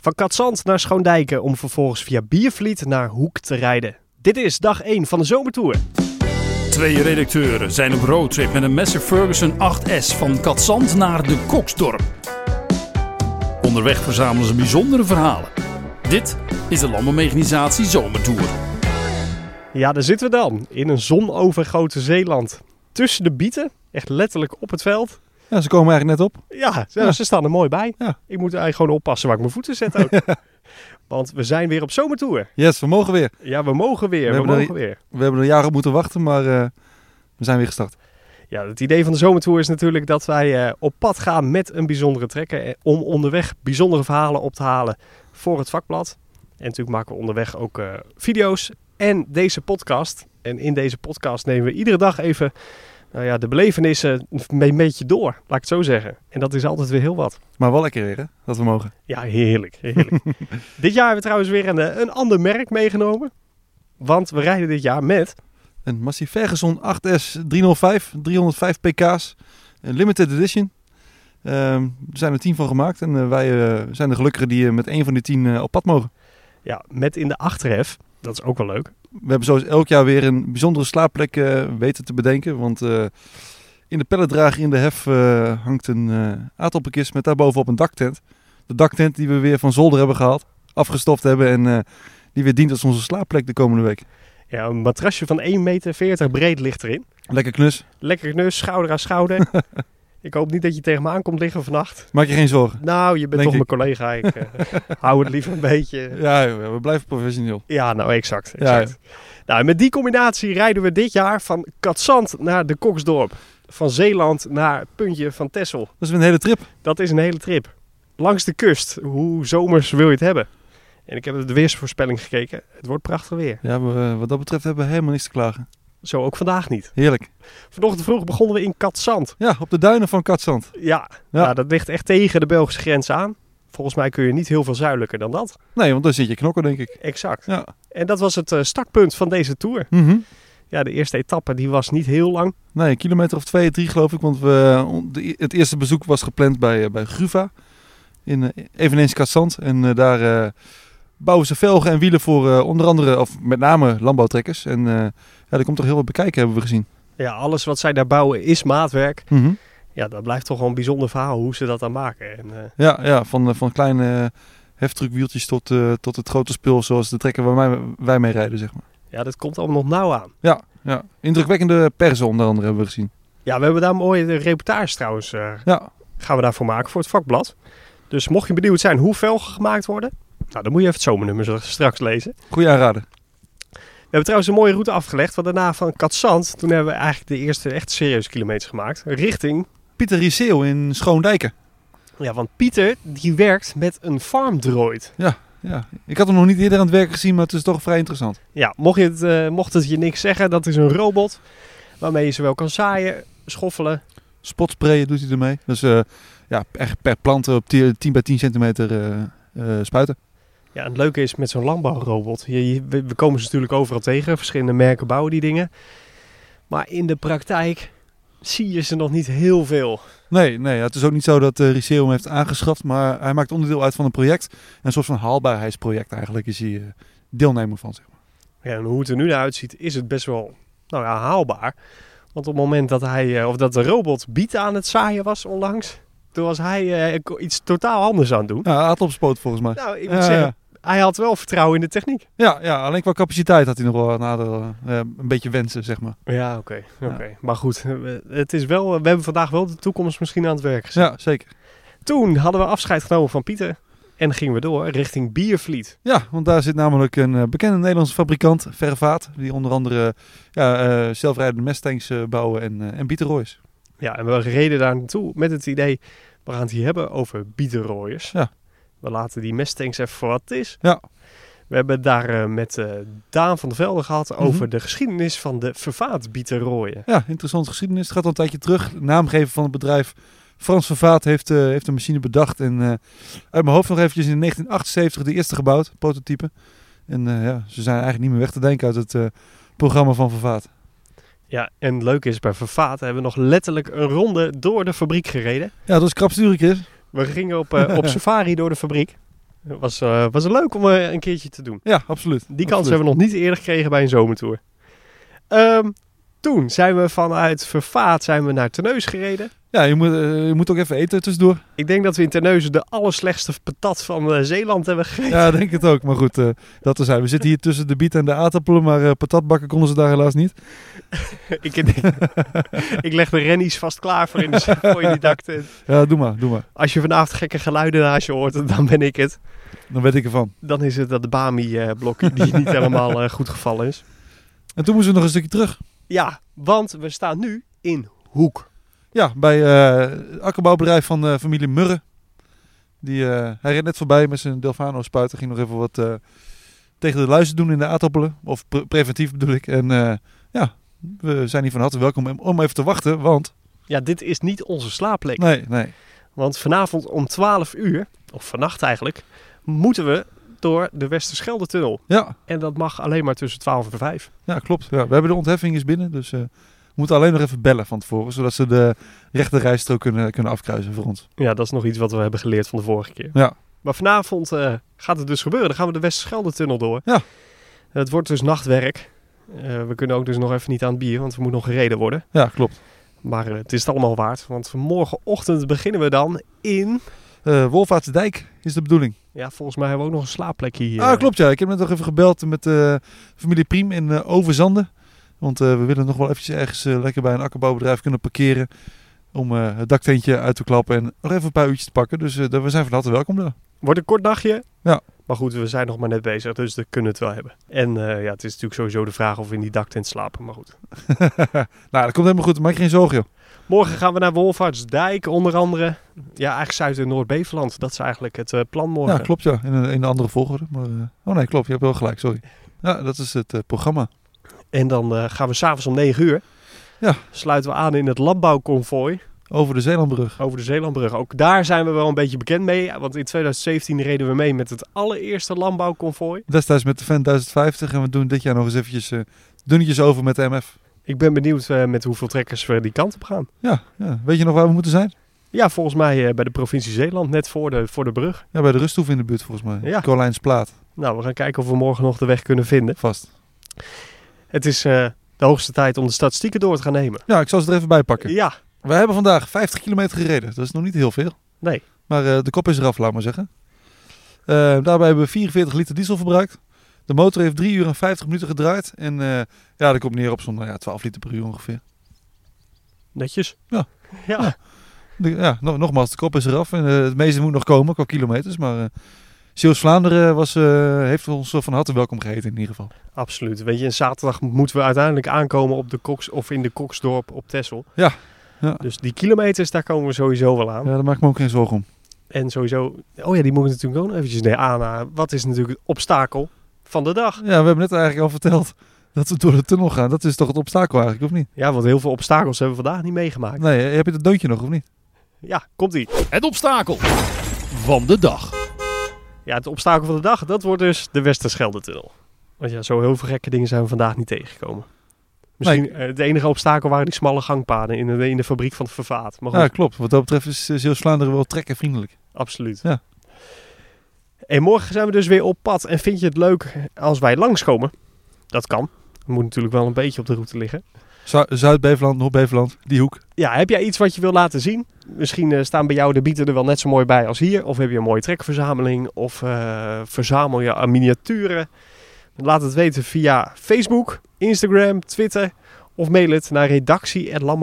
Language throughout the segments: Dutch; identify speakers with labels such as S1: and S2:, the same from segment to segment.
S1: Van Katzand naar Schoondijken om vervolgens via Biervliet naar Hoek te rijden. Dit is dag 1 van de zomertour.
S2: Twee redacteuren zijn op roadtrip met een Messer Ferguson 8S van Katzand naar de Koksdorp. Onderweg verzamelen ze bijzondere verhalen. Dit is de Landbouwmechanisatie Zomertour.
S1: Ja, daar zitten we dan. In een zonovergoten Zeeland. Tussen de bieten, echt letterlijk op het veld.
S3: Ja, ze komen eigenlijk net op.
S1: Ja, ze,
S3: Ja.
S1: ze staan er mooi bij.
S3: Ja.
S1: Ik moet eigenlijk gewoon oppassen waar ik mijn voeten zet ook. Want we zijn weer op zomertour.
S3: Yes, we mogen weer.
S1: Ja, we mogen weer.
S3: We
S1: We,
S3: hebben er-
S1: mogen weer.
S3: We hebben er jaren op moeten wachten, maar eh, we zijn weer gestart.
S1: Ja, het idee van de zomertour is natuurlijk dat wij eh, op pad gaan met een bijzondere trekker. eh, Om onderweg bijzondere verhalen op te halen voor het vakblad. En natuurlijk maken we onderweg ook eh, video's en deze podcast. En in deze podcast nemen we iedere dag even nou ja, de belevenissen een beetje door, laat ik het zo zeggen. En dat is altijd weer heel wat.
S3: Maar wel lekker weer, hè? Dat we mogen.
S1: Ja, heerlijk. heerlijk. dit jaar hebben we trouwens weer een, eh, een ander merk meegenomen. Want we rijden dit jaar met.
S3: Een Massey Ferguson 8S 305, 305 pk's. Een limited edition. Ehm, er zijn er tien van gemaakt en eh, wij eh, zijn de gelukkigen die eh, met één van de tien eh, op pad mogen.
S1: Ja, met in de achterhef. Dat is ook wel leuk.
S3: We hebben zoals elk jaar weer een bijzondere slaapplek eh, weten te bedenken. Want eh, in de pelletdrager in de hef eh, hangt een eh aardappelkist met daarbovenop een daktent. De daktent die we weer van zolder hebben gehaald, afgestoft hebben en eh, die weer dient als onze slaapplek de komende week.
S1: Ja, een matrasje van 1,40 meter breed ligt erin.
S3: Lekker knus,
S1: Lekker knus, schouder aan schouder. ik hoop niet dat je tegen me aan komt liggen vannacht.
S3: maak je geen zorgen.
S1: Nou, je bent
S3: Denk
S1: toch mijn collega. Ik eh, hou het liever een beetje.
S3: Ja, joh, we blijven professioneel.
S1: Ja, nou exact.
S3: Ja,
S1: exact. Nou, en met die combinatie rijden we dit jaar van Katzand naar de Koksdorp. Van Zeeland naar het puntje van Tessel.
S3: Dat is weer een hele trip.
S1: Dat is een hele trip. Langs de kust. Hoe zomers wil je het hebben? En ik heb de weersvoorspelling gekeken. Het wordt prachtig weer.
S3: Ja, we, eh, wat dat betreft hebben we helemaal niks te klagen.
S1: Zo ook vandaag niet.
S3: Heerlijk.
S1: Vanochtend vroeg begonnen we in Katzand.
S3: Ja, op de duinen van Katzand.
S1: Ja,
S3: Ja.
S1: Nou, dat ligt echt tegen de Belgische grens aan. Volgens mij kun je niet heel veel zuidelijker dan dat.
S3: Nee, want daar zit je knokken, denk ik.
S1: Exact.
S3: Ja.
S1: En dat was het eh, startpunt van deze tour.
S3: Mhm.
S1: Ja, de eerste etappe die was niet heel lang.
S3: Nee, een kilometer of twee, drie geloof ik. Want we, on- de e- het eerste bezoek was gepland bij, eh, bij Gruva. In, eh, eveneens Katzand. En eh, daar eh, bouwen ze velgen en wielen voor eh, onder andere, of met name landbouwtrekkers. En eh, ja, er komt toch heel wat bekijken, hebben we gezien.
S1: Ja, alles wat zij daar bouwen is maatwerk.
S3: Mhm.
S1: Ja, dat blijft toch wel een bijzonder verhaal hoe ze dat dan maken. En, eh,
S3: Ja, ja van, eh, van kleine eh, heftruckwieltjes tot, eh, tot het grote spul zoals de trekker waar wij, wij mee rijden, zeg maar.
S1: ja, dat komt allemaal nog nauw aan.
S3: Ja, ja. indrukwekkende persen onder andere hebben we gezien.
S1: Ja, we hebben daar mooie eh, reportages trouwens. eh,
S3: Ja,
S1: gaan we daarvoor maken voor het vakblad. Dus mocht je benieuwd zijn hoe velgen gemaakt worden... Nou, dan moet je even het zomernummer straks lezen.
S3: goede aanrader.
S1: We hebben trouwens een mooie route afgelegd. Want daarna van Katzand, toen hebben we eigenlijk de eerste echt serieuze kilometers gemaakt. Richting,
S3: Pieter Rieseel in Schoondijken.
S1: ja, want Pieter die werkt met een farmdroid.
S3: Ja, ik had hem nog niet eerder aan het werk gezien, maar het is toch vrij interessant.
S1: Ja, mocht, je het, eh, mocht het je niks zeggen, dat is een robot waarmee je zowel kan zaaien, schoffelen.
S3: Spotsprayen doet hij ermee. Dus eh, ja, echt per plant op 10 bij 10 centimeter eh, eh, spuiten.
S1: Ja, en het leuke is met zo'n landbouwrobot. Je, je- we we komen ze natuurlijk overal tegen. Verschillende merken bouwen die dingen. Maar in de praktijk zie je ze nog niet heel veel.
S3: Nee, nee ja, het is ook niet zo dat eh Riceo hem heeft aangeschaft, maar hij maakt onderdeel uit van een project. En een soort van haalbaarheidsproject eigenlijk is hij eh, deelnemer van. Zeg maar.
S1: Ja, en hoe het er nu naar uitziet, is het best wel nou ja, haalbaar. Want op het moment dat hij, eh, of dat de robot biet aan het zaaien was onlangs, toen was hij eh, ko- iets totaal anders aan het doen.
S3: Ja, aardappelspoot volgens mij.
S1: Nou, ik
S3: Ja,
S1: moet zeggen, hij had wel vertrouwen in de techniek.
S3: Ja, ja, alleen qua capaciteit had hij nog wel wat nadeel, eh, een beetje wensen, zeg maar.
S1: Ja, oké. oké.
S3: Ja.
S1: Maar goed, eh, we- het is wel, we hebben vandaag wel de toekomst misschien aan het werk gezet.
S3: Ja, zeker.
S1: Toen hadden we afscheid genomen van Pieter en gingen we door richting Biervliet.
S3: Ja, want daar zit namelijk een eh, bekende Nederlandse fabrikant, Vervaat, die onder andere ja, eh, zelfrijdende Mustangs eh, bouwen en, eh en Bietenroois.
S1: Ja, en we reden daar naartoe met het idee, we gaan het hier hebben over bietenrooiers.
S3: Ja.
S1: We laten die Mustangs even voor wat het is.
S3: Ja.
S1: We hebben het daar eh, met eh, Daan van der Velde gehad over
S3: Mhm.
S1: de geschiedenis van de vervaat bietenrooien.
S3: Ja, interessante geschiedenis. Het gaat al een tijdje terug. De naamgever van het bedrijf Frans Vervaat heeft, eh, heeft een machine bedacht. En eh, uit mijn hoofd nog eventjes in 1978 de eerste gebouwd, prototype. En eh, ja, ze zijn eigenlijk niet meer weg te denken uit het eh, programma van Vervaat.
S1: Ja, en leuk is bij vervaat hebben we nog letterlijk een ronde door de fabriek gereden.
S3: Ja, dat is krapsturig is.
S1: We gingen op, eh, op safari door de fabriek. Was, eh, was leuk om eh, een keertje te doen.
S3: Ja, absoluut.
S1: Die kans hebben we nog niet eerder gekregen bij een zomertour. Ehm, toen zijn we vanuit Vervaat zijn we naar Terneuzen gereden.
S3: Ja, je moet, eh, je moet ook even eten tussendoor.
S1: Ik denk dat we in Terneuzen de allerslechtste patat van eh, Zeeland hebben gegeten.
S3: Ja, denk het ook. Maar goed, eh, dat er zijn. We zitten hier tussen de biet en de aardappelen, maar eh, patatbakken konden ze daar helaas niet.
S1: ik, denk- ik leg de rennies vast klaar voor in de voor in die daktent.
S3: Ja, doe maar, doe maar.
S1: Als je vanavond gekke geluiden naast je hoort, dan ben ik het.
S3: Dan weet ik ervan.
S1: Dan is het dat Bami-blok die niet helemaal eh, goed gevallen is.
S3: En toen moesten we nog een stukje terug.
S1: Ja, want we staan nu in Hoek.
S3: Ja, bij eh, het akkerbouwbedrijf van eh, familie Murre. Die, eh, hij reed net voorbij met zijn Delfano spuiten. Ging nog even wat eh, tegen de luizen doen in de aardappelen. Of pre- preventief bedoel ik. En eh, ja, we zijn hier van harte welkom om even te wachten. Want,
S1: Ja, dit is niet onze slaapplek.
S3: nee, nee.
S1: Want vanavond om 12 uur, of vannacht eigenlijk, moeten we door de Westerschelde-tunnel.
S3: Ja,
S1: En dat mag alleen maar tussen 12 en 5.
S3: ja klopt. Ja, we hebben de ontheffing is binnen. Dus eh, we moeten alleen nog even bellen van tevoren. Zodat ze de rechte rijstrook kunnen, kunnen afkruisen voor ons.
S1: Ja, dat is nog iets wat we hebben geleerd van de vorige keer.
S3: Ja.
S1: Maar vanavond eh, gaat het dus gebeuren. Dan gaan we de Westerschelde-tunnel door.
S3: Ja.
S1: Het wordt dus nachtwerk. Eh, we kunnen ook dus nog even niet aan het bier, want we moeten nog gereden worden.
S3: Ja, klopt.
S1: Maar eh, het is het allemaal waard, want morgenochtend beginnen we dan in...
S3: Eh Wolvaartsdijk is de bedoeling.
S1: Ja, volgens mij hebben we ook nog een slaapplekje hier. eh,
S3: Ah, klopt ja. Ik heb net nog even gebeld met eh, familie Priem in eh, Overzanden. Want eh, we willen nog wel eventjes ergens eh, lekker bij een akkerbouwbedrijf kunnen parkeren. Om eh, het daktentje uit te klappen en nog even een paar uurtjes te pakken. Dus eh, daar- we zijn van harte welkom daar.
S1: Wordt een kort dagje.
S3: Ja.
S1: Maar goed, we zijn nog maar net bezig, dus we kunnen het wel hebben. En eh, ja, het is natuurlijk sowieso de vraag of we in die daktent slapen, maar goed.
S3: nou, dat komt helemaal goed. Maak je geen zorgen, joh.
S1: Morgen gaan we naar Wolvaartsdijk, onder andere. Ja, eigenlijk Zuid- en Noord-Beveland. Dat is eigenlijk het eh, plan morgen.
S3: Ja, klopt ja. In een, in een andere volgorde. Maar, eh, oh nee, klopt. Je hebt wel gelijk. Sorry. Ja, dat is het eh, programma.
S1: En dan eh, gaan we s'avonds om 9 uur.
S3: Ja.
S1: Sluiten we aan in het landbouwconvooi
S3: Over de Zeelandbrug.
S1: over de Zeelandbrug. Ook daar zijn we wel een beetje bekend mee. Want in 2017 reden we mee met het allereerste landbouwconvooi.
S3: Destijds met de Fan 1050. En we doen dit jaar nog eens eventjes eh, dunnetjes over met de MF.
S1: Ik ben benieuwd eh, met hoeveel trekkers we die kant op gaan.
S3: Ja, ja. Weet je nog waar we moeten zijn?
S1: Ja, volgens mij eh, bij de provincie Zeeland, net voor de, voor de brug.
S3: Ja, bij de Rusthoef in de buurt volgens mij.
S1: Ja.
S3: Colijnsplaat.
S1: Nou, we gaan kijken of we morgen nog de weg kunnen vinden.
S3: Vast.
S1: Het is eh, de hoogste tijd om de statistieken door te gaan nemen.
S3: Ja, ik zal ze er even bij pakken.
S1: Ja,
S3: We hebben vandaag 50 kilometer gereden. Dat is nog niet heel veel.
S1: Nee.
S3: Maar eh, de kop is eraf, laat maar zeggen. Eh, daarbij hebben we 44 liter diesel verbruikt. De motor heeft 3 uur en 50 minuten gedraaid. En eh, ja, dat komt neer op zo'n nou ja, 12 liter per uur ongeveer.
S1: netjes.
S3: Ja.
S1: ja.
S3: De- ja, nog, nogmaals, de kop is eraf. En eh, het meeste moet nog komen qua kilometers. Maar eh Zeeuws Vlaanderen was, eh, heeft ons van harte welkom geheten in ieder geval.
S1: absoluut. Weet je, en zaterdag moeten we uiteindelijk aankomen op de Koks, of in de Koksdorp op Texel.
S3: Ja, ja.
S1: Dus die kilometers, daar komen we sowieso wel aan.
S3: Ja, daar maak ik me ook geen zorgen om.
S1: En sowieso, oh ja, die moet ik natuurlijk ook nog eventjes nee, aan. Wat is natuurlijk het obstakel van de dag?
S3: Ja, we hebben net eigenlijk al verteld dat we door de tunnel gaan. Dat is toch het obstakel eigenlijk, of niet?
S1: Ja, want heel veel obstakels hebben we vandaag niet meegemaakt.
S3: Nee, heb je dat deuntje nog of niet?
S1: Ja, komt-ie.
S2: Het obstakel van de dag.
S1: Ja, het obstakel van de dag, dat wordt dus de Westerschelde-tunnel. Want ja, zo heel veel gekke dingen zijn we vandaag niet tegengekomen. Misschien
S3: Nee.
S1: eh, het enige obstakel waren die smalle gangpaden in de, in de fabriek van het vervaat. Maar goed,
S3: Ja, klopt. Wat dat betreft is eh, Zeeuws-Vlaanderen wel trekkervriendelijk.
S1: absoluut.
S3: Ja.
S1: En morgen zijn we dus weer op pad. En vind je het leuk als wij langskomen? Dat kan. Het moet natuurlijk wel een beetje op de route liggen.
S3: Zu- Zuid-Beveland, Noord-Beveland, die hoek.
S1: Ja, heb jij iets wat je wil laten zien? Misschien eh, staan bij jou de bieten er wel net zo mooi bij als hier. Of heb je een mooie trekverzameling? Of eh, verzamel je aan miniaturen? Laat het weten via Facebook, Instagram, Twitter. Of mail het naar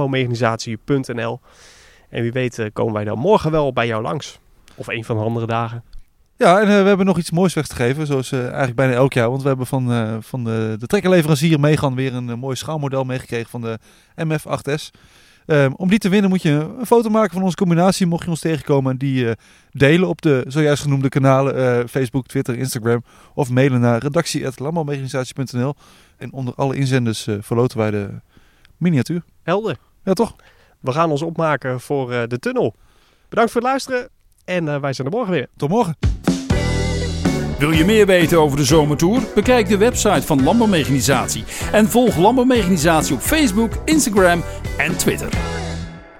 S1: redactie.landbouwmechanisatie.nl En wie weet eh, komen wij dan morgen wel bij jou langs. Of een van de andere dagen.
S3: Ja, en eh, we hebben nog iets moois weg te geven, zoals eh, eigenlijk bijna elk jaar. Want we hebben van, eh, van de, de trekkerleverancier Megan weer een eh, mooi schaalmodel meegekregen van de MF8S. Ehm, om die te winnen moet je een foto maken van onze combinatie, mocht je ons tegenkomen. En die eh, delen op de zojuist genoemde kanalen, eh, Facebook, Twitter, Instagram. Of mailen naar redactie.landbouwmechanisatie.nl. En onder alle inzenders eh, verloten wij de miniatuur.
S1: Helder.
S3: Ja, toch?
S1: We gaan ons opmaken voor eh, de tunnel. Bedankt voor het luisteren. En eh, wij zijn er morgen weer.
S3: Tot morgen.
S2: Wil je meer weten over de zomertour? Bekijk de website van Landbouwmechanisatie en volg Landbouwmechanisatie op Facebook, Instagram en Twitter.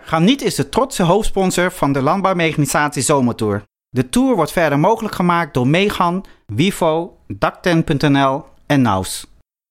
S4: Geniet is de trotse hoofdsponsor van de Landbouwmechanisatie Zomertour. De tour wordt verder mogelijk gemaakt door Megan, Wifo, Dakten.nl en Naus.